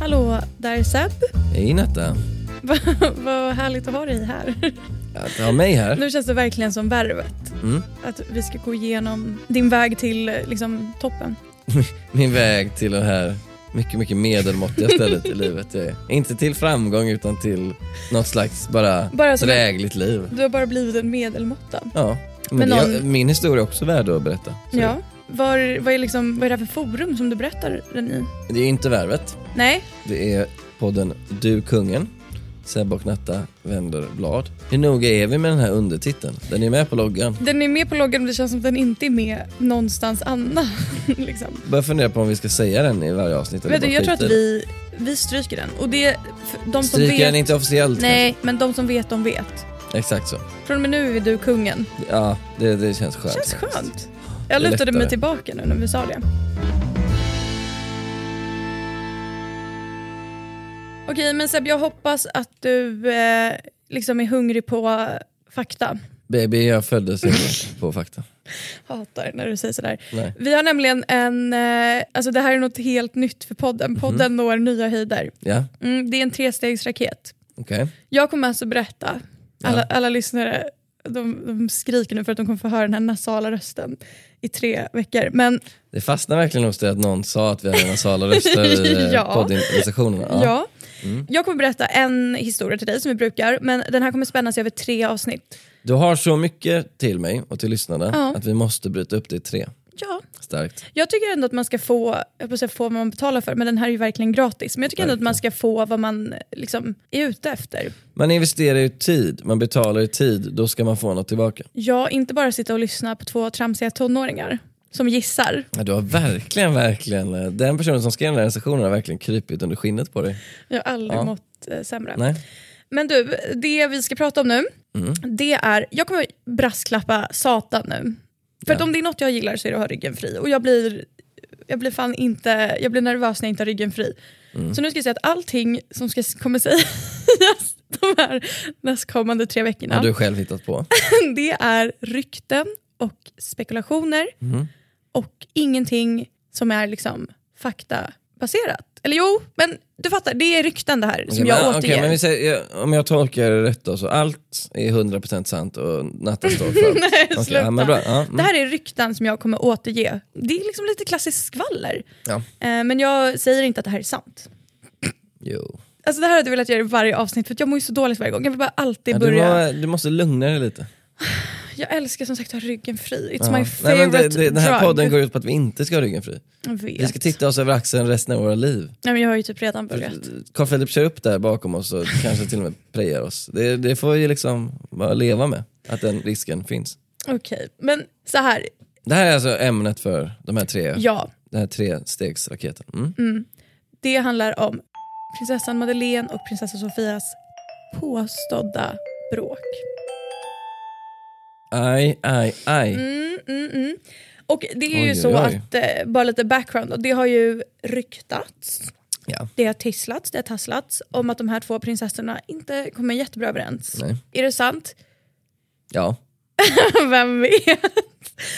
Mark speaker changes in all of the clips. Speaker 1: Hallå, där är Seb.
Speaker 2: Hej Netta.
Speaker 1: Vad- Vad härligt att ha dig här.
Speaker 2: Att ha mig här.
Speaker 1: Nu känns det verkligen som värvet.
Speaker 2: Mm.
Speaker 1: Att vi ska gå igenom din väg till liksom, toppen.
Speaker 2: Min väg till det här mycket, mycket medelmåttiga stället i livet. jag är. Inte till framgång utan till något slags bara,
Speaker 1: Bara som-
Speaker 2: drägligt liv.
Speaker 1: Du har bara blivit en medelmåtta.
Speaker 2: Ja. Men
Speaker 1: Men
Speaker 2: det,
Speaker 1: någon-
Speaker 2: Min historia är också värd att berätta. Så
Speaker 1: Ja. Var, vad, är liksom, vad är det här för forum som du berättar den i?
Speaker 2: Det är inte Värvet.
Speaker 1: Nej,
Speaker 2: Det är podden Du Kungen. Seb och Natta vänder blad. Hur noga är vi med den här undertiteln? Den är med på loggan.
Speaker 1: den är med på loggen men det känns som att den inte är med någonstans annars. liksom.
Speaker 2: Börjar fundera på om vi ska säga den i varje avsnitt. eller
Speaker 1: Vet du,
Speaker 2: bara
Speaker 1: jag tror
Speaker 2: skita
Speaker 1: att
Speaker 2: i
Speaker 1: vi, vi stryker den. Och det, för de
Speaker 2: den.
Speaker 1: som
Speaker 2: Stryker den
Speaker 1: vet,
Speaker 2: inte officiellt?
Speaker 1: Nej, men de som vet, de vet.
Speaker 2: kanske? Exakt så.
Speaker 1: Från och med nu är du kungen.
Speaker 2: Ja, det, det känns skönt.
Speaker 1: känns
Speaker 2: faktiskt.
Speaker 1: skönt. Jag
Speaker 2: Det är
Speaker 1: lutade mig
Speaker 2: lättare.
Speaker 1: tillbaka nu när vi sa det. Okej, men Seb, jag hoppas att du eh, liksom är hungrig på fakta.
Speaker 2: Baby, jag föddes inte på fakta.
Speaker 1: Hatar när du säger sådär.
Speaker 2: Nej.
Speaker 1: Vi har nämligen en, eh, alltså det här är något helt nytt för
Speaker 2: Mhm.
Speaker 1: podden. Podden når nya höjder.
Speaker 2: Ja,
Speaker 1: Mm, det är en trestegsraket.
Speaker 2: okej.
Speaker 1: Jag kommer alltså berätta, alla, alla lyssnare de, de skriker nu för att de kommer få höra den här nasala rösten i tre veckor. Men
Speaker 2: Det fastnar verkligen hos dig att någon sa att vi hade nasala röster i eh,
Speaker 1: Ja.
Speaker 2: poddinversationerna.
Speaker 1: Ja.
Speaker 2: Mm.
Speaker 1: Jag kommer berätta en historia till dig som vi brukar, men den här kommer spännas över tre avsnitt.
Speaker 2: Du har så mycket till mig och till lyssnarna
Speaker 1: Ja.
Speaker 2: att vi måste bryta upp det i tre.
Speaker 1: Ja.
Speaker 2: Starkt.
Speaker 1: Jag tycker ändå att man ska få, jag höll på att säga få vad man betalar för, men den här är ju verkligen gratis. Men jag tycker ändå att man ska få vad man liksom är ute efter.
Speaker 2: Man investerar ju tid, man betalar ju tid, då ska man få något tillbaka.
Speaker 1: Ja, inte bara sitta och lyssna på två tramsiga tonåringar som gissar.
Speaker 2: Ja, du har verkligen, verkligen, eh, den personen som skrev den här recensionen har verkligen krypit under skinnet på dig.
Speaker 1: Jag har aldrig
Speaker 2: Ja.
Speaker 1: mått eh, sämre.
Speaker 2: Nej.
Speaker 1: Men du, det vi ska prata om nu,
Speaker 2: Mm.
Speaker 1: det är, jag kommer brasklappa Satan nu. För att
Speaker 2: Ja.
Speaker 1: om det är något jag gillar så är det att ha ryggen fri. Och jag blir, jag blir fan inte, jag blir nervös när jag inte har ryggen fri.
Speaker 2: Mm.
Speaker 1: Så nu ska jag säga att allting som ska, kommer sägas de här nästkommande tre veckorna,
Speaker 2: Har du själv hittat på.
Speaker 1: det är rykten och spekulationer
Speaker 2: Mm.
Speaker 1: och ingenting som är liksom faktabaserat. Eller jo, men du fattar, det är rykten det här som
Speaker 2: Okej,
Speaker 1: jag
Speaker 2: men-
Speaker 1: återger.
Speaker 2: okej, men vi säger, ja, om jag tolkar det rätt då, så allt är 100% sant och Natta står för allt.
Speaker 1: Nej,
Speaker 2: Okej,
Speaker 1: sluta.
Speaker 2: ja, men bra. Ja, mm.
Speaker 1: Det här är rykten som jag kommer återge. Det är liksom lite klassiskt skvaller.
Speaker 2: Ja.
Speaker 1: Eh, Men jag säger inte att det här är sant.
Speaker 2: Jo.
Speaker 1: Alltså det här hade jag velat göra i varje avsnitt för att jag mår ju så dåligt varje gång. Jag vill bara alltid
Speaker 2: Ja, du,
Speaker 1: börja.
Speaker 2: må, du måste lugna dig lite.
Speaker 1: Jag älskar som sagt att ha ryggen fri. It's
Speaker 2: Ja.
Speaker 1: my
Speaker 2: Nej,
Speaker 1: favorite
Speaker 2: men det, det, den här
Speaker 1: drug.
Speaker 2: podden går ut på att vi inte ska ha ryggen fri.
Speaker 1: jag vet.
Speaker 2: Vi ska titta oss över axeln resten av våra liv.
Speaker 1: Nej, men jag har ju typ redan börjat.
Speaker 2: Carl Philip kör upp där bakom oss och kanske till och med prejar oss. Det, det får vi ju liksom bara leva med, att den risken finns.
Speaker 1: Okej, men så här.
Speaker 2: Det här är alltså ämnet för de här tre,
Speaker 1: Ja,
Speaker 2: den här trestegsraketen. Mm.
Speaker 1: det handlar om prinsessan Madeleine och prinsessa Sofias påstådda bråk.
Speaker 2: Aj, aj, aj.
Speaker 1: Mm, mm, mm. Och det är ju
Speaker 2: Oj, oj,
Speaker 1: så
Speaker 2: oj.
Speaker 1: att, eh, bara lite background, och det har ju ryktats,
Speaker 2: Ja.
Speaker 1: det har tisslats, det har tasslats om att de här två prinsessorna inte kommer jättebra överens.
Speaker 2: Nej.
Speaker 1: Är det sant?
Speaker 2: Ja.
Speaker 1: Vem vet?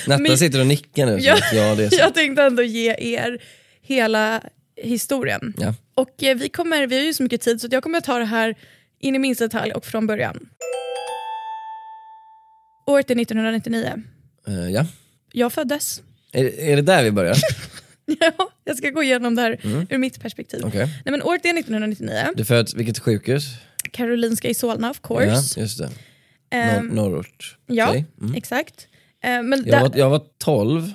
Speaker 2: Natta
Speaker 1: Men-
Speaker 2: sitter och nickar nu.
Speaker 1: Ja.
Speaker 2: Ja. Att, ja, det är så.
Speaker 1: Jag tänkte ändå ge er hela historien.
Speaker 2: Ja.
Speaker 1: Och eh, vi, kommer, vi har ju så mycket tid så att jag kommer att ta det här in i minsta detalj och från början. Året är 1999.
Speaker 2: Eh, ja.
Speaker 1: Jag föddes.
Speaker 2: Är, är det där vi börjar?
Speaker 1: Ja, jag ska gå igenom det här ur mitt perspektiv.
Speaker 2: Mm. Okej.
Speaker 1: Nej, men året är 1999.
Speaker 2: Du föds, vilket sjukhus?
Speaker 1: Karolinska i Solna of
Speaker 2: Ja,
Speaker 1: course.
Speaker 2: just det. Nor-
Speaker 1: Ehm,
Speaker 2: norrort.
Speaker 1: ja
Speaker 2: Okej. Mm.
Speaker 1: exakt. Eh, men
Speaker 2: Jag
Speaker 1: där-
Speaker 2: var, jag var 12,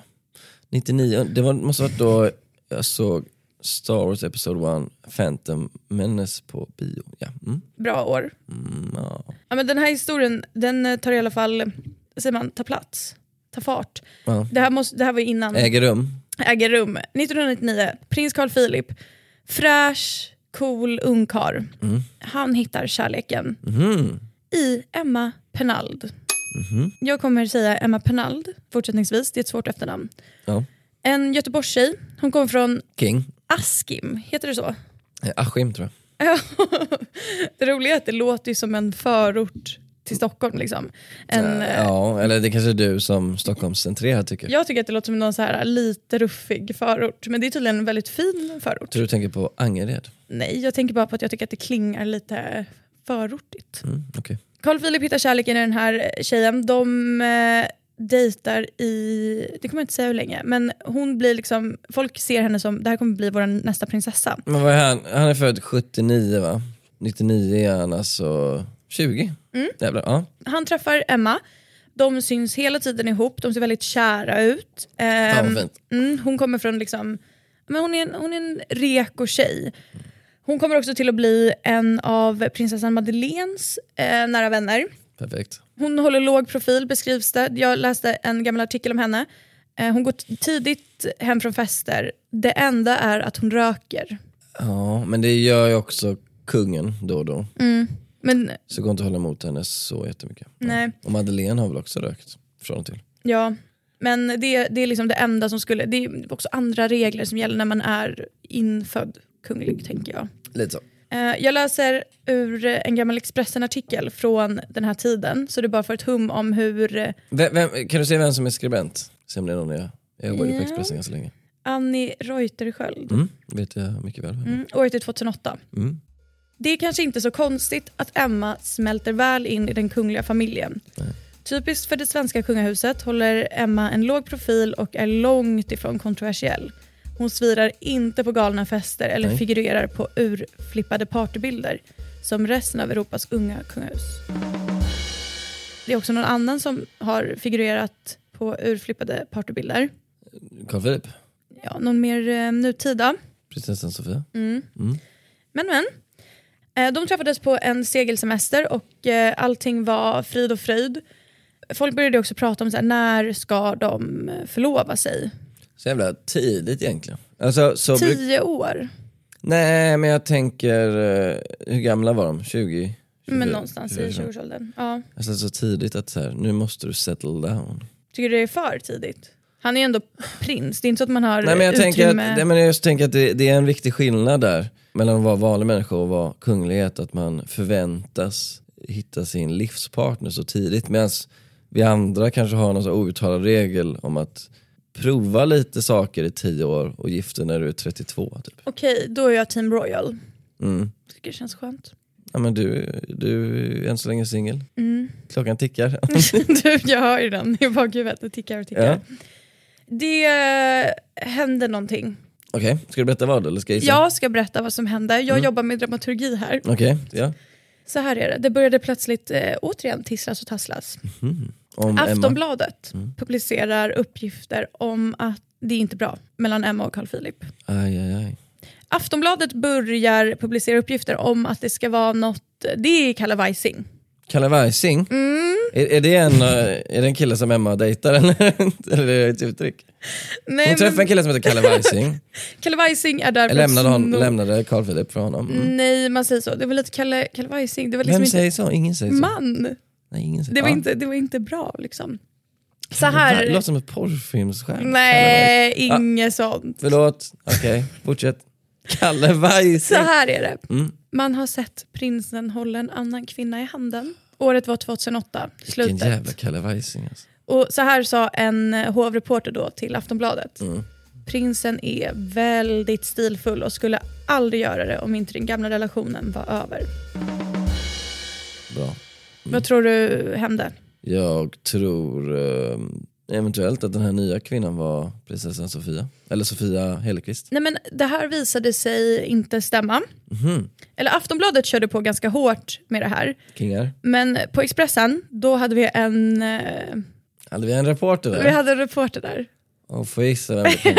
Speaker 2: 99, det var, måste ha varit då jag såg Star Wars Episode 1, Phantom Menace på bio. Ja. Mm.
Speaker 1: Bra år.
Speaker 2: Mm, ja.
Speaker 1: Ja, men den här historien den eh, tar i alla fall, säger man, tar plats ta fart.
Speaker 2: Ja.
Speaker 1: Det, här måste, det här var ju innan
Speaker 2: Äger rum.
Speaker 1: äger rum. 1999, prins Carl Philip, fräsch, cool ungkarl.
Speaker 2: Mm.
Speaker 1: Han hittar kärleken
Speaker 2: Mhm.
Speaker 1: i Emma Penald. Jag kommer säga Emma Penald fortsättningsvis, det är ett svårt efternamn.
Speaker 2: Ja.
Speaker 1: En Göteborgstjej, hon kom från
Speaker 2: King.
Speaker 1: Askim, heter det så?
Speaker 2: Eh, Askim tror jag.
Speaker 1: det roliga är att det låter ju som en förort till Stockholm. Liksom. En,
Speaker 2: Eh, Ja, eller det kanske är du som Stockholmscentrerad tycker.
Speaker 1: Jag tycker att det låter som någon så här lite ruffig förort, men det är tydligen en väldigt fin förort.
Speaker 2: Tror du tänker på Angered?
Speaker 1: Nej, jag tänker bara på att jag tycker att det klingar lite förortigt.
Speaker 2: Mm, okej.
Speaker 1: Carl Philip hittar kärleken i den här tjejen. De eh, dejtar i, det kommer jag inte säga hur länge, men hon blir liksom, folk ser henne som, det här kommer bli vår nästa prinsessa.
Speaker 2: Men vad är han? Han är född 79 va? 99 är han alltså 20?
Speaker 1: Mm.
Speaker 2: Jävlar, ja.
Speaker 1: Han träffar Emma, de syns hela tiden ihop, de ser väldigt kära ut.
Speaker 2: Fan
Speaker 1: Ehm,
Speaker 2: vad fint.
Speaker 1: Mm, hon kommer från liksom, men hon är en, hon är en reko tjej. Hon kommer också till att bli en av prinsessan Madeleines eh, nära vänner.
Speaker 2: Perfekt.
Speaker 1: Hon håller låg profil beskrivs det. Jag läste en gammal artikel om henne. Eh, hon går t- tidigt hem från fester. Det enda är att hon röker.
Speaker 2: Ja, men det gör ju också kungen då och då.
Speaker 1: Men
Speaker 2: Så det går inte att hålla emot henne så jättemycket. Ja.
Speaker 1: Nej.
Speaker 2: Och Madeleine har väl också rökt från och till.
Speaker 1: ja, men det, det är liksom det enda som skulle... Det är också andra regler som gäller när man är infödd kunglig, tänker jag.
Speaker 2: Lite så.
Speaker 1: Eh, Jag läser ur eh, en gammal Expressen-artikel från den här tiden, så du bara får ett hum om hur eh,
Speaker 2: Vem, vem, kan du se vem som är skribent? Se om det är någon jag... Jag jobbade på
Speaker 1: Ja.
Speaker 2: Expressen ganska länge.
Speaker 1: Annie Reuterskiöld,
Speaker 2: Mm, vet jag mycket väl.
Speaker 1: mm, året är 2008.
Speaker 2: Mm.
Speaker 1: Det är kanske inte så konstigt att Emma smälter väl in i den kungliga familjen. Typiskt för det svenska kungahuset håller Emma en låg profil och är långt ifrån kontroversiell. Hon svirar inte på galna fester eller
Speaker 2: Nej.
Speaker 1: figurerar på urflippade partybilder som resten av Europas unga kungahus. Det är också någon annan som har figurerat på urflippade partybilder.
Speaker 2: Carl Philip,
Speaker 1: Ja, någon mer eh, nutida.
Speaker 2: prinsessan Sofia.
Speaker 1: Mm.
Speaker 2: Mm.
Speaker 1: Men men. Eh, De träffades på en segelsemester och eh, allting var frid och fröjd. Folk började också prata om så här, när ska de förlova sig?
Speaker 2: Så jävla tidigt egentligen. Alltså, så bruk-
Speaker 1: Tio år?
Speaker 2: Nej, men jag tänker, eh, hur gamla var de? 20?
Speaker 1: Men
Speaker 2: 24?
Speaker 1: någonstans i 20-årsåldern. Ja.
Speaker 2: Alltså så tidigt att så här, nu måste du settle down.
Speaker 1: Tycker du det är för tidigt? Han är ju ändå prins, det är inte så att man har
Speaker 2: Nej, men jag, tänker att,
Speaker 1: utrymme.
Speaker 2: nej, men jag just tänker att det, det är en viktig skillnad där mellan att vara vanlig människa och vara kunglighet. Att man förväntas hitta sin livspartner så tidigt. Medan vi andra kanske har någon så här outtalad regel om att prova lite saker i tio år och gifta när du är 32. Typ.
Speaker 1: Okej, då är jag team royal.
Speaker 2: Mm.
Speaker 1: Tycker det känns skönt.
Speaker 2: Ja, men du, du är än så länge singel.
Speaker 1: Mm.
Speaker 2: Klockan tickar.
Speaker 1: du, jag hör ju den i bakhuvudet, det tickar och tickar.
Speaker 2: Ja.
Speaker 1: Det eh, hände någonting.
Speaker 2: Okej, ska du berätta vad eller ska jag gissa?
Speaker 1: Jag ska berätta vad som hände,
Speaker 2: Mm.
Speaker 1: jag jobbar med dramaturgi här.
Speaker 2: Okej, ja.
Speaker 1: Så här är det, det började plötsligt eh, återigen tisslas och tasslas.
Speaker 2: Om Mm, Emma. Mm.
Speaker 1: Aftonbladet publicerar uppgifter om att det är inte bra mellan Emma och Carl Philip.
Speaker 2: Aj, aj, aj.
Speaker 1: Aftonbladet börjar publicera uppgifter om att det ska vara något, det är kalabajsing.
Speaker 2: Kalavajsing?
Speaker 1: Mm.
Speaker 2: Är, är, det en, eh, är det en kille som Emma dejtar eller, eller är det ett uttryck?
Speaker 1: Nej,
Speaker 2: Hon
Speaker 1: men
Speaker 2: träffade en kille som heter Kalle Weising,
Speaker 1: Kalabajsing är där för
Speaker 2: lämnade,
Speaker 1: att
Speaker 2: hon,
Speaker 1: sno-
Speaker 2: lämnade Carl Philip för honom. Mm.
Speaker 1: Nej, man säger så. Det var lite Kalle, kalabajsing, det var liksom
Speaker 2: Vem
Speaker 1: inte
Speaker 2: säger så? Ingen säger så.
Speaker 1: man.
Speaker 2: Nej, ingen säger
Speaker 1: Det var,
Speaker 2: Ja.
Speaker 1: inte, det var inte bra liksom. Så
Speaker 2: Det
Speaker 1: här,
Speaker 2: låter som ett porrfilmsstjärna.
Speaker 1: nej,
Speaker 2: Ja.
Speaker 1: inget sånt.
Speaker 2: Förlåt, okej, fortsätt. Kalle
Speaker 1: Så
Speaker 2: Weising.
Speaker 1: här är det.
Speaker 2: Mm.
Speaker 1: Man har sett prinsen hålla en annan kvinna i handen. Året var 2008,
Speaker 2: Vilken
Speaker 1: slutet.
Speaker 2: jävla Kalle Weising alltså.
Speaker 1: Och så här sa en eh, hovreporter då till Aftonbladet.
Speaker 2: Mm.
Speaker 1: Prinsen är väldigt stilfull och skulle aldrig göra det om inte den gamla relationen var över.
Speaker 2: Mm. Bra.
Speaker 1: Vad tror du hände?
Speaker 2: Jag tror eh, eventuellt att den här nya kvinnan var prinsessan Sofia. Eller Sofia Hellqvist.
Speaker 1: Nej men det här visade sig inte stämma.
Speaker 2: Mhm.
Speaker 1: Eller Aftonbladet körde på ganska hårt med det här.
Speaker 2: Kingar.
Speaker 1: Men på Expressen, då hade vi en, eh,
Speaker 2: Hade vi en reporter där?
Speaker 1: vi hade en reporter där.
Speaker 2: Och får jag gissa vem det kan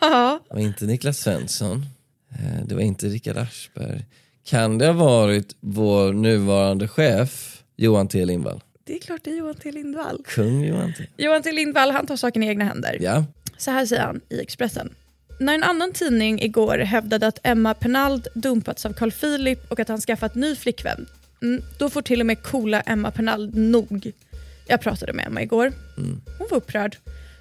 Speaker 2: vara? Det var inte Niklas Svensson. Eh, Det var inte Rickard Aschberg. Kan det ha varit vår nuvarande chef Johan T Lindvall?
Speaker 1: det är klart det är Johan T Lindvall.
Speaker 2: Kung Johan T.
Speaker 1: Johan T Lindvall han tar saken i egna händer.
Speaker 2: Ja.
Speaker 1: Så här säger han i Expressen. När en annan tidning igår hävdade att Emma Pernald dumpats av Carl Philip och att han skaffat ny flickvän, mm, då får till och med coola Emma Pernald nog. Jag pratade med Emma igår. Hon var upprörd.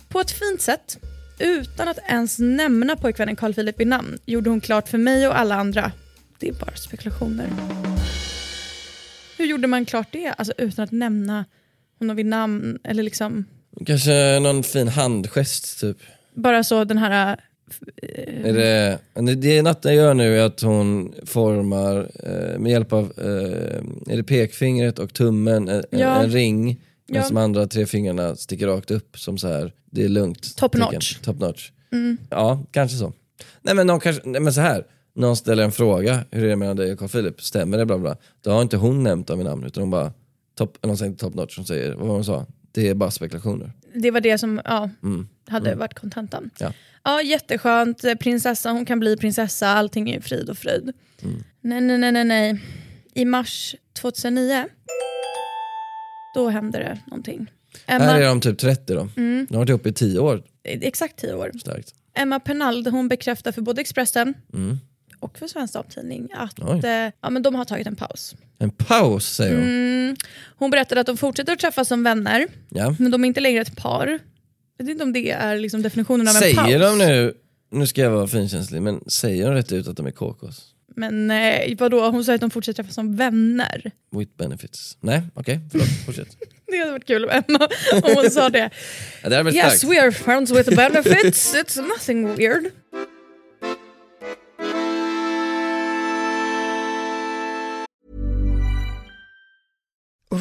Speaker 1: På ett fint sätt, utan att ens nämna pojkvännen Carl Philip i namn, gjorde hon klart för mig och alla andra. Det är bara spekulationer. Hur gjorde man klart det? Alltså utan att nämna honom vid namn eller liksom
Speaker 2: Kanske någon fin handgest typ.
Speaker 1: bara så den här eh,
Speaker 2: Är det, men det Natta gör nu är att hon formar eh, med hjälp av eh, är det pekfingret och tummen en, en-
Speaker 1: Ja.
Speaker 2: en ring.
Speaker 1: Ja.
Speaker 2: Medan de andra tre fingrarna sticker rakt upp som så här. det är lugnt.
Speaker 1: Top
Speaker 2: tecken.
Speaker 1: notch. Mm.
Speaker 2: Top notch. Ja, kanske så. Nej men, någon kanske, nej men så här. någon ställer en fråga, hur är det mellan dig och Carl Philip? Stämmer det? Bla, bla. Då har inte hon nämnt dem i namn utan hon bara, top, någon säger inte top notch, hon säger, vad var hon sa? Det är bara spekulationer.
Speaker 1: det var det som ja, hade varit kontentan.
Speaker 2: Mm. Ja.
Speaker 1: Ja, jätteskönt. Prinsessa, hon kan bli prinsessa. Allting är frid och fröjd.
Speaker 2: Mm.
Speaker 1: Nej, nej, nej, nej, nej. I mars 2009, då hände det någonting.
Speaker 2: Här är
Speaker 1: Emma, eh,
Speaker 2: de typ 30 då.
Speaker 1: Mm.
Speaker 2: De har varit ihop i 10 år
Speaker 1: exakt tio år.
Speaker 2: starkt.
Speaker 1: Emma Pernald hon bekräftar för både Expressen och för Svensk Damtidning att
Speaker 2: Mm. Oj.
Speaker 1: eh, ja, men de har tagit en paus. Mm.
Speaker 2: En paus säger hon.
Speaker 1: Hon berättade att de fortsätter att träffas som vänner,
Speaker 2: Ja.
Speaker 1: men de är inte längre ett par. Jag vet inte om det är liksom definitionen av en paus.
Speaker 2: Säger de nu, nu ska jag vara finkänslig, men säger de rätt ut att de är KKs?
Speaker 1: Men eh, vadå, hon sa att de fortsätter träffas som vänner.
Speaker 2: With benefits? Nej, okej, förlåt, fortsätt.
Speaker 1: Det hade varit kul om Emma om hon sa det.
Speaker 2: Ja, det hade varit
Speaker 1: yes,
Speaker 2: starkt.
Speaker 1: we are friends with benefits, it's nothing weird.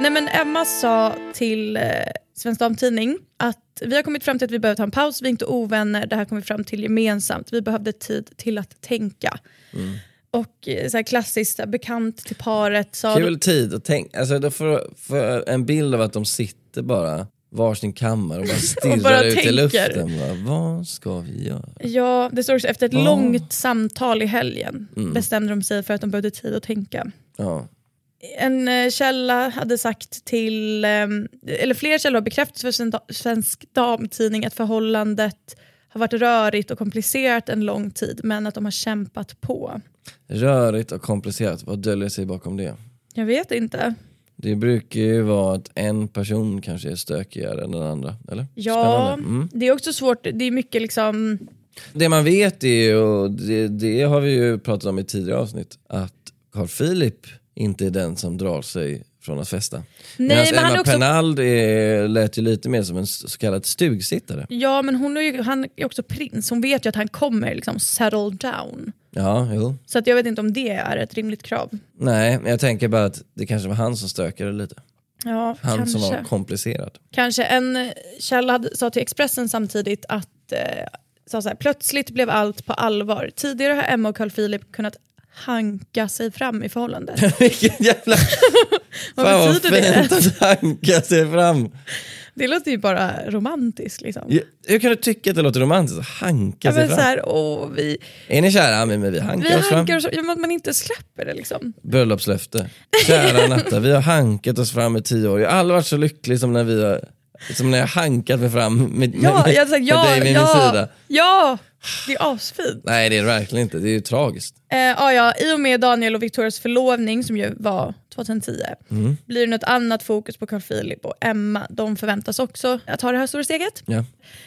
Speaker 1: Nej men Emma sa till eh, Svensk Damtidning att vi har kommit fram till att vi behöver ta en paus, vi är inte ovänner, det här kom vi fram till gemensamt, vi behövde tid till att tänka.
Speaker 2: Mm.
Speaker 1: Och eh, så här klassiskt, så här, bekant till paret sa...
Speaker 2: Kul tid att tänka, alltså då får, får en bild av att de sitter bara varsin kammare och bara stirrar
Speaker 1: bara
Speaker 2: ut
Speaker 1: tänker.
Speaker 2: i luften. Bara, vad ska vi göra?
Speaker 1: Ja, det står också efter ett
Speaker 2: Ja. Mm.
Speaker 1: långt samtal i helgen bestämde de sig för att de behövde tid att tänka.
Speaker 2: Ja.
Speaker 1: En eh, källa hade sagt till, ehm, eller flera källor har bekräftat för Sven- Svensk Damtidning att förhållandet har varit rörigt och komplicerat en lång tid men att de har kämpat på.
Speaker 2: Rörigt och komplicerat, vad döljer sig bakom det?
Speaker 1: Jag vet inte.
Speaker 2: Det brukar ju vara att en person kanske är stökigare än den andra, eller?
Speaker 1: Ja,
Speaker 2: Spännande. Mm.
Speaker 1: det är också svårt, det är mycket liksom,
Speaker 2: Det man vet är ju, och det, det har vi ju pratat om i tidigare avsnitt, att Carl Philip inte är den som drar sig från att festa.
Speaker 1: Nej,
Speaker 2: Medans
Speaker 1: men han är
Speaker 2: Emma
Speaker 1: också-
Speaker 2: Pernald är, lät ju lite mer som en s- så kallad stugsittare.
Speaker 1: ja men hon är ju, han är också prins, hon vet ju att han kommer liksom settle down.
Speaker 2: Ja, jo.
Speaker 1: Så att jag vet inte om det är ett rimligt krav.
Speaker 2: Nej, men jag tänker bara att det kanske var han som stökade lite.
Speaker 1: Ja,
Speaker 2: Han
Speaker 1: kanske.
Speaker 2: som var komplicerad.
Speaker 1: Kanske en eh, källa hade- sa till Expressen samtidigt att eh, sa så här, plötsligt blev allt på allvar. Tidigare har Emma och Carl Philip kunnat hanka sig fram i förhållandet.
Speaker 2: Vilken jävla...
Speaker 1: Vad
Speaker 2: Fan vad
Speaker 1: betyder det?
Speaker 2: fint att hanka sig fram.
Speaker 1: Det låter ju bara romantiskt liksom.
Speaker 2: Ja, Hur kan du tycka att det låter romantiskt? att Hanka
Speaker 1: Ja,
Speaker 2: sig
Speaker 1: men
Speaker 2: fram?
Speaker 1: så här, åh, vi
Speaker 2: Är ni kära? Ja, Men, men vi hankar
Speaker 1: vi
Speaker 2: oss fram.
Speaker 1: hankar oss, ja, men att man inte släpper det liksom.
Speaker 2: Bröllopslöfte. Kära Natta, vi har hankat oss fram i tio år. Jag har aldrig varit så lycklig som när vi har som när jag hankat mig fram med, med,
Speaker 1: Ja,
Speaker 2: med,
Speaker 1: jag, så här, ja,
Speaker 2: med dig vid min
Speaker 1: ja,
Speaker 2: sida.
Speaker 1: ja, Det är asfint.
Speaker 2: Nej det är det verkligen inte, det är ju tragiskt.
Speaker 1: Eh, ja, ja, I och med Daniel och Victorias förlovning som ju var 2010
Speaker 2: Mm.
Speaker 1: blir det något annat fokus på Carl Philip och Emma. De förväntas också att ta det här stora steget.
Speaker 2: Ja.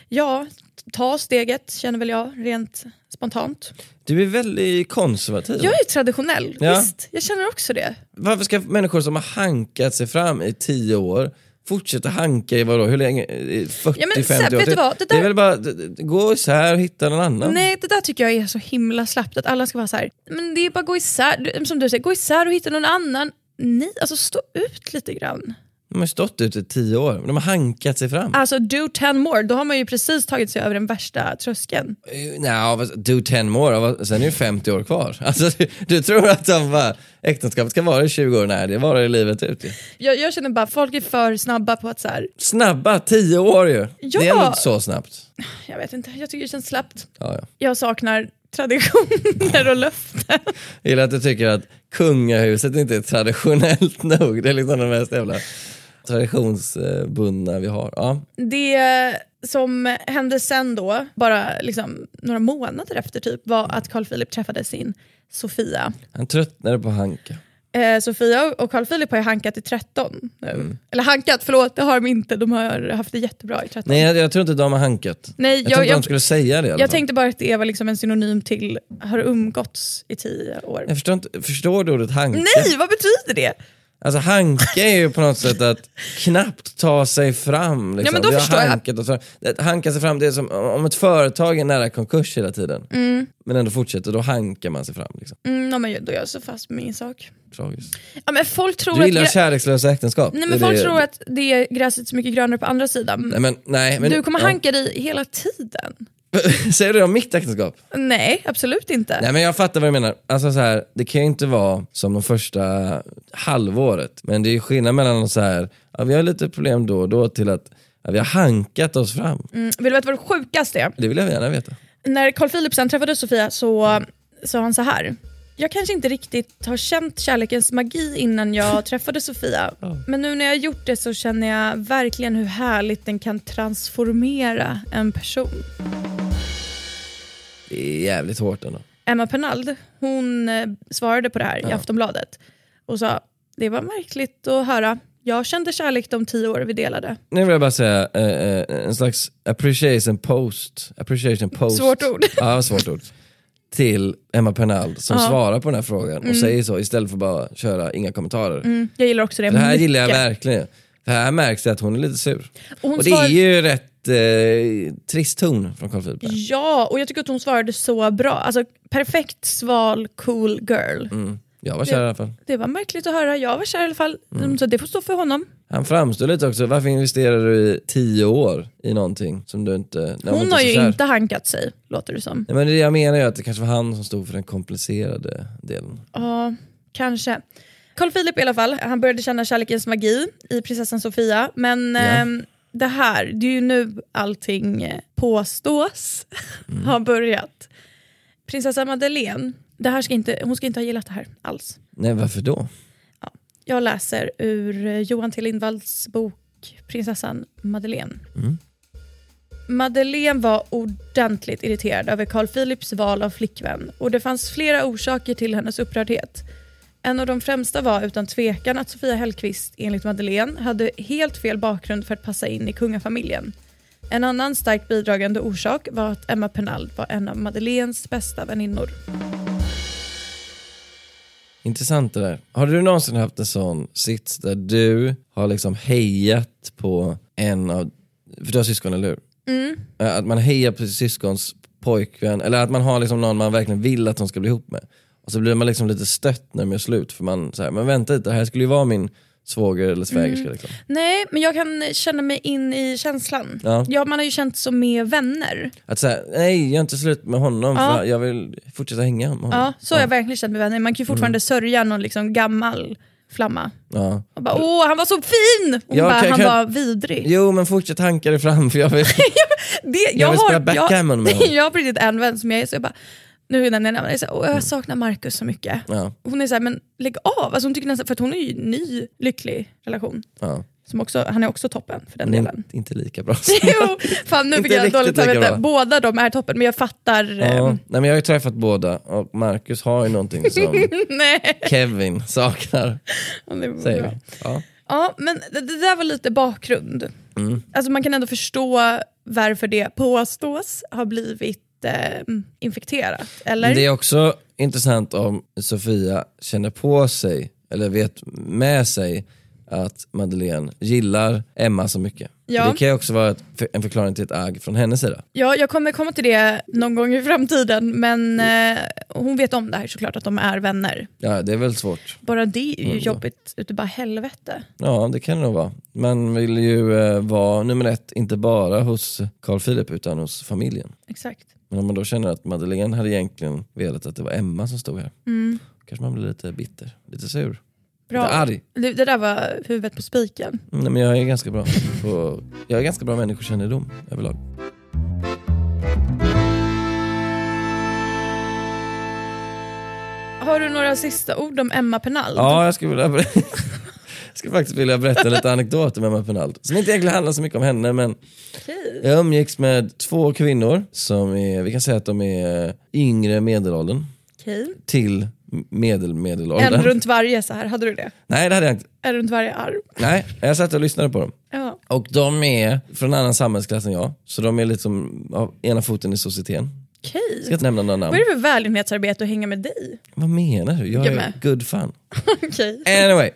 Speaker 1: Ja, ta steget känner väl jag rent spontant.
Speaker 2: Du är väldigt konservativ.
Speaker 1: Jag är traditionell,
Speaker 2: Ja.
Speaker 1: visst. Jag känner också det.
Speaker 2: Varför ska människor som har hankat sig fram i tio år fortsätta hanka i vadå, hur länge? I 40,
Speaker 1: Ja, men
Speaker 2: 50
Speaker 1: Sepp,
Speaker 2: år
Speaker 1: vet
Speaker 2: till?
Speaker 1: du vad? Det
Speaker 2: är
Speaker 1: där-
Speaker 2: väl bara, d- d- gå isär och hitta någon annan.
Speaker 1: Nej, det där tycker jag är så himla slappt. Att alla ska vara så här, men det är bara gå isär, du- som du säger, gå isär och hitta någon annan. Nej, alltså stå ut lite grann.
Speaker 2: De har stått ute i tio år, de har hankat sig fram.
Speaker 1: Alltså do ten more, då har man ju precis tagit sig över den värsta tröskeln.
Speaker 2: Eh, Nja, vad- do 10 more, vad- sen är det 50 år kvar. Alltså, du, du tror att de bara, äktenskapet ska vara i 20 år? Nej, det varar i livet ut. ju.
Speaker 1: Jag, jag känner bara, folk är för snabba på att så här,
Speaker 2: Snabba 10 år ju!
Speaker 1: Ja.
Speaker 2: Det är ändå inte så snabbt.
Speaker 1: jag vet inte, jag tycker det känns slappt.
Speaker 2: Ja, ja.
Speaker 1: Jag saknar traditioner och löften.
Speaker 2: Jag gillar att du tycker att kungahuset inte är traditionellt nog. Det är liksom det mest jävla traditionsbundna vi har. Ja.
Speaker 1: Det som hände sen då, bara liksom några månader efter typ, var att Carl Philip träffade sin Sofia.
Speaker 2: Han tröttnade på Hanka.
Speaker 1: Eh, Sofia och Carl Philip har ju hankat i 13 nu.
Speaker 2: Mm.
Speaker 1: Eller hankat, förlåt det har de inte. De har haft det jättebra i 13.
Speaker 2: Nej, jag, jag tror inte de har hankat.
Speaker 1: Nej,
Speaker 2: jag,
Speaker 1: jag-
Speaker 2: tror inte de
Speaker 1: jag-
Speaker 2: skulle säga det i
Speaker 1: jag
Speaker 2: alla fall.
Speaker 1: tänkte bara att det var liksom en synonym till har umgåtts i 10 år.
Speaker 2: jag förstår, inte, förstår du ordet hanka?
Speaker 1: Nej, vad betyder det?
Speaker 2: Alltså hanka är ju på något sätt att knappt ta sig fram. Liksom.
Speaker 1: Ja, men då
Speaker 2: Vi har
Speaker 1: förstår jag.
Speaker 2: hankat oss fram. Det- Hanka sig fram, det är som om ett företag är nära konkurs hela tiden. Men ändå fortsätter, då hankar man sig fram. Liksom.
Speaker 1: Mm, ja, men jag- då är jag så fast med min sak.
Speaker 2: Tragiskt.
Speaker 1: Ja, men folk tror
Speaker 2: Du gillar
Speaker 1: att... grä-
Speaker 2: kärlekslösa äktenskap?
Speaker 1: Nej,
Speaker 2: Det är
Speaker 1: men folk
Speaker 2: det-
Speaker 1: tror att det är gräset så mycket grönare på andra sidan.
Speaker 2: Nej, men, nej, men,
Speaker 1: du kommer
Speaker 2: ja.
Speaker 1: hanka dig hela tiden.
Speaker 2: Säger du det om mitt äktenskap?
Speaker 1: Nej, absolut inte.
Speaker 2: Nej men jag fattar vad du menar. Alltså så här, det kan ju inte vara som de första halvåret. Men det är ju skillnad mellan så här, ja, vi har lite problem då och då till att ja, vi har hankat oss fram.
Speaker 1: Mm, vill du veta vad det sjukaste är?
Speaker 2: Det vill jag gärna veta.
Speaker 1: När Carl Philip sen träffade Sofia så sa han så här. Jag kanske inte riktigt har känt kärlekens magi innan jag träffade Sofia. Men nu när jag gjort det så känner jag verkligen hur härligt den kan transformera en person.
Speaker 2: Det är jävligt hårt ändå.
Speaker 1: Emma Pernald, hon eh, svarade på det här i Aftonbladet och sa det var märkligt att höra. Jag kände kärlek de tio år vi delade. Mm,
Speaker 2: Nu vill jag bara säga eh, eh, en slags appreciation post. Appreciation post.
Speaker 1: Svårt ord.
Speaker 2: Ja, svårt ord. Till Emma Pernald som svarar på den här frågan och säger så istället för bara köra inga kommentarer.
Speaker 1: Mm, jag gillar också det,
Speaker 2: Det här gillar jag
Speaker 1: mycket.
Speaker 2: verkligen. För här märks det att hon är lite sur.
Speaker 1: Och hon
Speaker 2: Och det
Speaker 1: svar-
Speaker 2: är ju rätt eh, trist ton från Carl Philip. där.
Speaker 1: Ja, och jag tycker att hon svarade så bra. Alltså perfekt, sval, cool girl.
Speaker 2: Mm. Jag var kär i alla fall.
Speaker 1: Det var märkligt att höra. Jag var kär i alla fall.
Speaker 2: Mm.
Speaker 1: Så det får stå för honom.
Speaker 2: Han framstår lite också, varför investerar du i tio år i någonting som du inte... när man
Speaker 1: Hon
Speaker 2: inte är
Speaker 1: har
Speaker 2: så
Speaker 1: ju
Speaker 2: kär?
Speaker 1: inte hankat sig, låter det som.
Speaker 2: Nej, men det jag menar är att det kanske var han som stod för den komplicerade delen.
Speaker 1: Ja, kanske. Carl Philip i alla fall, han började känna kärlekens magi i prinsessan Sofia. Men ehm, det här, det är ju nu allting eh, påstås
Speaker 2: Mm.
Speaker 1: har börjat. Prinsessa Madeleine, det här ska inte, hon ska inte ha gillat det här alls.
Speaker 2: Nej, varför då?
Speaker 1: Jag läser ur eh, Johan T Lindvalls bok Prinsessan Madeleine. Madeleine var ordentligt irriterad över Carl Philips val av flickvän och det fanns flera orsaker till hennes upprördhet. En av de främsta var utan tvekan att Sofia Hellqvist, enligt Madeleine, hade helt fel bakgrund för att passa in i kungafamiljen. En annan starkt bidragande orsak var att Emma Pernald var en av Madeleines bästa väninnor.
Speaker 2: Intressant det där. Har du någonsin haft en sån sits där du har liksom hejat på en av, för du har syskon eller hur?
Speaker 1: Mm.
Speaker 2: Eh, Att man hejar på sitt syskons pojkvän, eller att man har liksom någon man verkligen vill att de ska bli ihop med. Och så blir man liksom lite stött när de gör slut för man säger, men vänta lite, det här skulle ju vara min svåger eller svägerska.
Speaker 1: Mm.
Speaker 2: Liksom.
Speaker 1: Nej, men jag kan känna mig in i känslan.
Speaker 2: Ja.
Speaker 1: Ja. man har ju känt så med vänner.
Speaker 2: Att säga, nej jag är inte slut med honom
Speaker 1: Ja.
Speaker 2: för jag vill fortsätta hänga med honom.
Speaker 1: Ja, så har jag verkligen känt med vänner. Man kan ju fortfarande sörja någon liksom gammal flamma.
Speaker 2: Mm. Ja.
Speaker 1: Och bara, åh han var så fin! Och
Speaker 2: Ja,
Speaker 1: bara,
Speaker 2: kan-
Speaker 1: han
Speaker 2: kan-
Speaker 1: var vidrig.
Speaker 2: Jo men fortsätt hanka dig fram för jag vill...
Speaker 1: Det, jag,
Speaker 2: vill
Speaker 1: har,
Speaker 2: spela backgammon med honom.
Speaker 1: Jag, jag har blivit en vän som jag är så jag bara, nu nämner jag namn, jag, är så här, "Åh, jag saknar Marcus så mycket.
Speaker 2: Mm. ja,
Speaker 1: Hon är såhär, men lägg av. Alltså hon tycker nästan, för att hon är ju ny lycklig relation.
Speaker 2: ja. Mm.
Speaker 1: Som också, han är också toppen för den
Speaker 2: Nej,
Speaker 1: delen.
Speaker 2: inte lika bra.
Speaker 1: jo, fan nu
Speaker 2: Inte
Speaker 1: fick jag
Speaker 2: riktigt
Speaker 1: dåligt
Speaker 2: lika
Speaker 1: samvete.
Speaker 2: bra.
Speaker 1: Båda de är toppen men jag fattar.
Speaker 2: Ja.
Speaker 1: Eh,
Speaker 2: Nej, men jag har ju träffat båda och Marcus har ju någonting som
Speaker 1: nej.
Speaker 2: Kevin saknar,
Speaker 1: Det var
Speaker 2: säger
Speaker 1: bra.
Speaker 2: vi. Ja.
Speaker 1: Ja, men det, det där var lite bakgrund.
Speaker 2: Mm.
Speaker 1: Alltså man kan ändå förstå varför det påstås ha blivit eh, infekterat. Eller?
Speaker 2: Men Det är också intressant om Sofia känner på sig, eller vet med sig, att Madeleine gillar Emma så mycket.
Speaker 1: Ja.
Speaker 2: För Det kan ju också vara ett, en förklaring till ett agg från hennes sida.
Speaker 1: Ja, jag kommer komma till det någon gång i framtiden men eh, hon vet om det här såklart att de är vänner.
Speaker 2: Ja, det är väl svårt.
Speaker 1: Bara det är ju
Speaker 2: Mm.
Speaker 1: jobbigt ute bara helvete.
Speaker 2: Ja, det kan det nog vara. Man vill ju eh, vara nummer ett, inte bara hos Carl Philip utan hos familjen.
Speaker 1: Exakt.
Speaker 2: Men om man då känner att Madeleine hade egentligen velat att det var Emma som stod här, kanske man blir lite bitter, lite sur, lite
Speaker 1: Mm. Bra.
Speaker 2: arg.
Speaker 1: Det, det där var huvudet på spiken.
Speaker 2: Nej, men jag är ganska bra på, jag är ganska bra människokännedom överlag.
Speaker 1: Har du några sista ord om Emma Penald?
Speaker 2: Ja, jag skulle, vilja, ber- jag skulle faktiskt vilja berätta lite anekdoter med Emma Penald. Som inte egentligen handlar så mycket om henne, men jag umgicks med två kvinnor som är, vi kan säga att de är yngre medelåldern
Speaker 1: Okej.
Speaker 2: till medel
Speaker 1: En
Speaker 2: medelåldern.
Speaker 1: runt varje så här, hade du det?
Speaker 2: Nej, det hade jag inte.
Speaker 1: En runt varje arm?
Speaker 2: Nej, jag satt och lyssnade på dem.
Speaker 1: Ja.
Speaker 2: Och de är från en annan samhällsklass än jag, så de är lite som av ena foten i societeten.
Speaker 1: Okej.
Speaker 2: Jag ska inte nämna några namn.
Speaker 1: Vad är det för välgörenhetsarbete att hänga med dig?
Speaker 2: Vad menar du? Jag
Speaker 1: Jag
Speaker 2: är
Speaker 1: med.
Speaker 2: good fun.
Speaker 1: Okej,
Speaker 2: Anyway,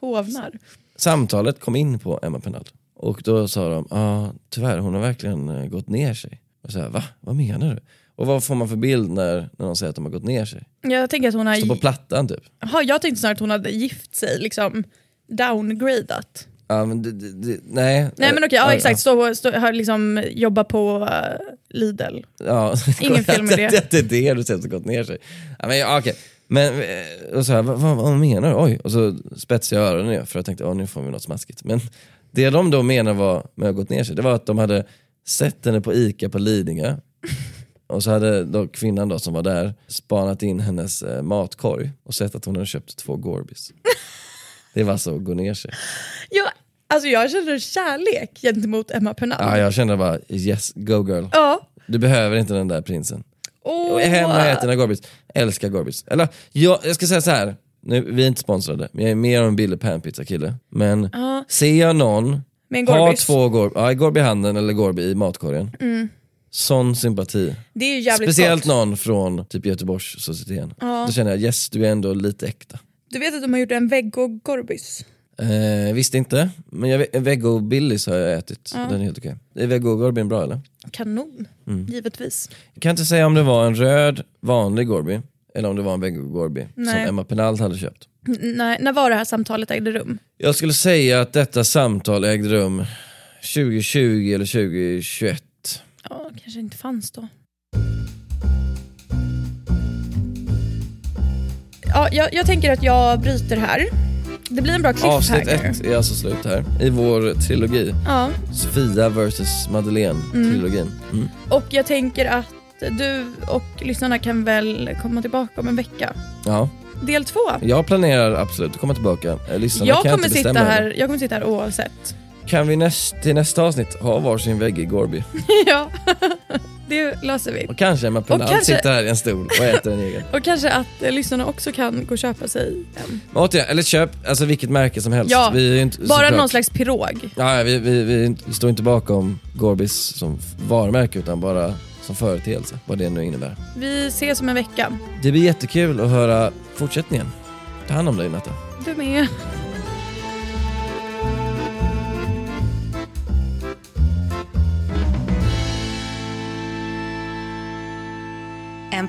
Speaker 1: hovnar.
Speaker 2: samtalet kom in på Emma Penald. Och då sa de, ah, tyvärr hon har verkligen eh, gått ner sig. Och så här, va? Vad menar du? Och vad får man för bild när, när de säger att de har gått ner sig?
Speaker 1: Jag tänker att hon
Speaker 2: Står på
Speaker 1: har...
Speaker 2: plattan typ.
Speaker 1: Jaha, jag tänkte snarare att hon hade gift sig, liksom downgradat.
Speaker 2: Ja, men det, det, det, nej.
Speaker 1: Nej men okej, ja,
Speaker 2: Ja,
Speaker 1: exakt. Stå, stå, har liksom jobba på eh, Lidl.
Speaker 2: Ja,
Speaker 1: Ingen film med det.
Speaker 2: det är det du säger att det gått ner sig. Ja, men, ja, okej. men eh, och så här, vad, vad, vad menar du? Oj. Och så spetsade jag öronen igen, för jag tänkte, ja nu får vi något smaskigt. Men det de då menar var, med att ha gått ner sig, det var att de hade sett henne på ICA på Lidingö. Och så hade då kvinnan då som var där spanat in hennes eh, matkorg och sett att hon hade köpt två Gorbis. Det var så att gå ner sig.
Speaker 1: Ja, alltså jag känner kärlek gentemot Emma Pernal.
Speaker 2: Ja, jag kände bara, yes, go girl.
Speaker 1: Ja.
Speaker 2: Du behöver inte den där prinsen.
Speaker 1: Åh.
Speaker 2: Och är hemma och äter dina Gorbis. Älskar Gorbis. Eller jag, jag ska säga så här. Nu, vi är inte sponsrade, men jag är mer av en billig panpizza kille. Men ser jag någon
Speaker 1: Med en
Speaker 2: ha
Speaker 1: Gorbis.
Speaker 2: två Gorb, ja, Gorbi i handen eller Gorbi i matkorgen. Sån sympati.
Speaker 1: Det är ju Mm. jävligt
Speaker 2: Speciellt
Speaker 1: gott.
Speaker 2: någon från typ Göteborgssocieteten. Då känner jag yes, du är ändå lite äkta.
Speaker 1: Du vet att de har gjort en veggo-gorbis?
Speaker 2: Eh, visste inte, men jag, vet- Veggo Billys har jag ätit. Den är helt okej. Är Veggo Gorbin bra eller?
Speaker 1: Kanon,
Speaker 2: Mm.
Speaker 1: givetvis.
Speaker 2: Jag kan inte säga om det var en röd vanlig Gorby eller om det var en Veggo Gorby som
Speaker 1: Nej.
Speaker 2: Emma Penald hade köpt.
Speaker 1: N- nej, när var det här samtalet ägde rum?
Speaker 2: Jag skulle säga att detta samtal ägde rum 2020 eller 2021.
Speaker 1: Ja, kanske inte fanns då. Ja, jag, jag tänker att jag bryter här. Det blir en bra
Speaker 2: Avsnitt
Speaker 1: cliffhanger.
Speaker 2: ett är alltså slut här i vår trilogi.
Speaker 1: Ja.
Speaker 2: Sofia vs Madeleine trilogin. Mm.
Speaker 1: Och jag tänker att du och lyssnarna kan väl komma tillbaka om en vecka.
Speaker 2: Ja,
Speaker 1: Del två.
Speaker 2: jag planerar absolut att komma tillbaka. Eh, Lyssnarna
Speaker 1: Jag
Speaker 2: kan
Speaker 1: kommer,
Speaker 2: inte
Speaker 1: sitta
Speaker 2: bestämma
Speaker 1: här,
Speaker 2: heller.
Speaker 1: jag kommer sitta här oavsett.
Speaker 2: Kan vi näst, till nästa avsnitt ha varsin vägg i Gorby?
Speaker 1: ja, det löser vi.
Speaker 2: Och kanske Emma Pernald
Speaker 1: kanske-
Speaker 2: sitter här i en stol och äter en egen.
Speaker 1: Och kanske att eh, lyssnarna också kan gå och köpa sig en.
Speaker 2: Men återigen, eller köp alltså vilket märke som helst.
Speaker 1: Ja,
Speaker 2: Vi är ju inte,
Speaker 1: Bara
Speaker 2: såklart-
Speaker 1: någon slags pirog.
Speaker 2: Ja, ja, vi, vi, vi står inte bakom Gorbis som varumärke utan bara som företeelse, vad det nu innebär.
Speaker 1: Vi ses om en vecka.
Speaker 2: Det blir jättekul att höra fortsättningen. Ta hand om dig Natta.
Speaker 1: Du med.
Speaker 3: En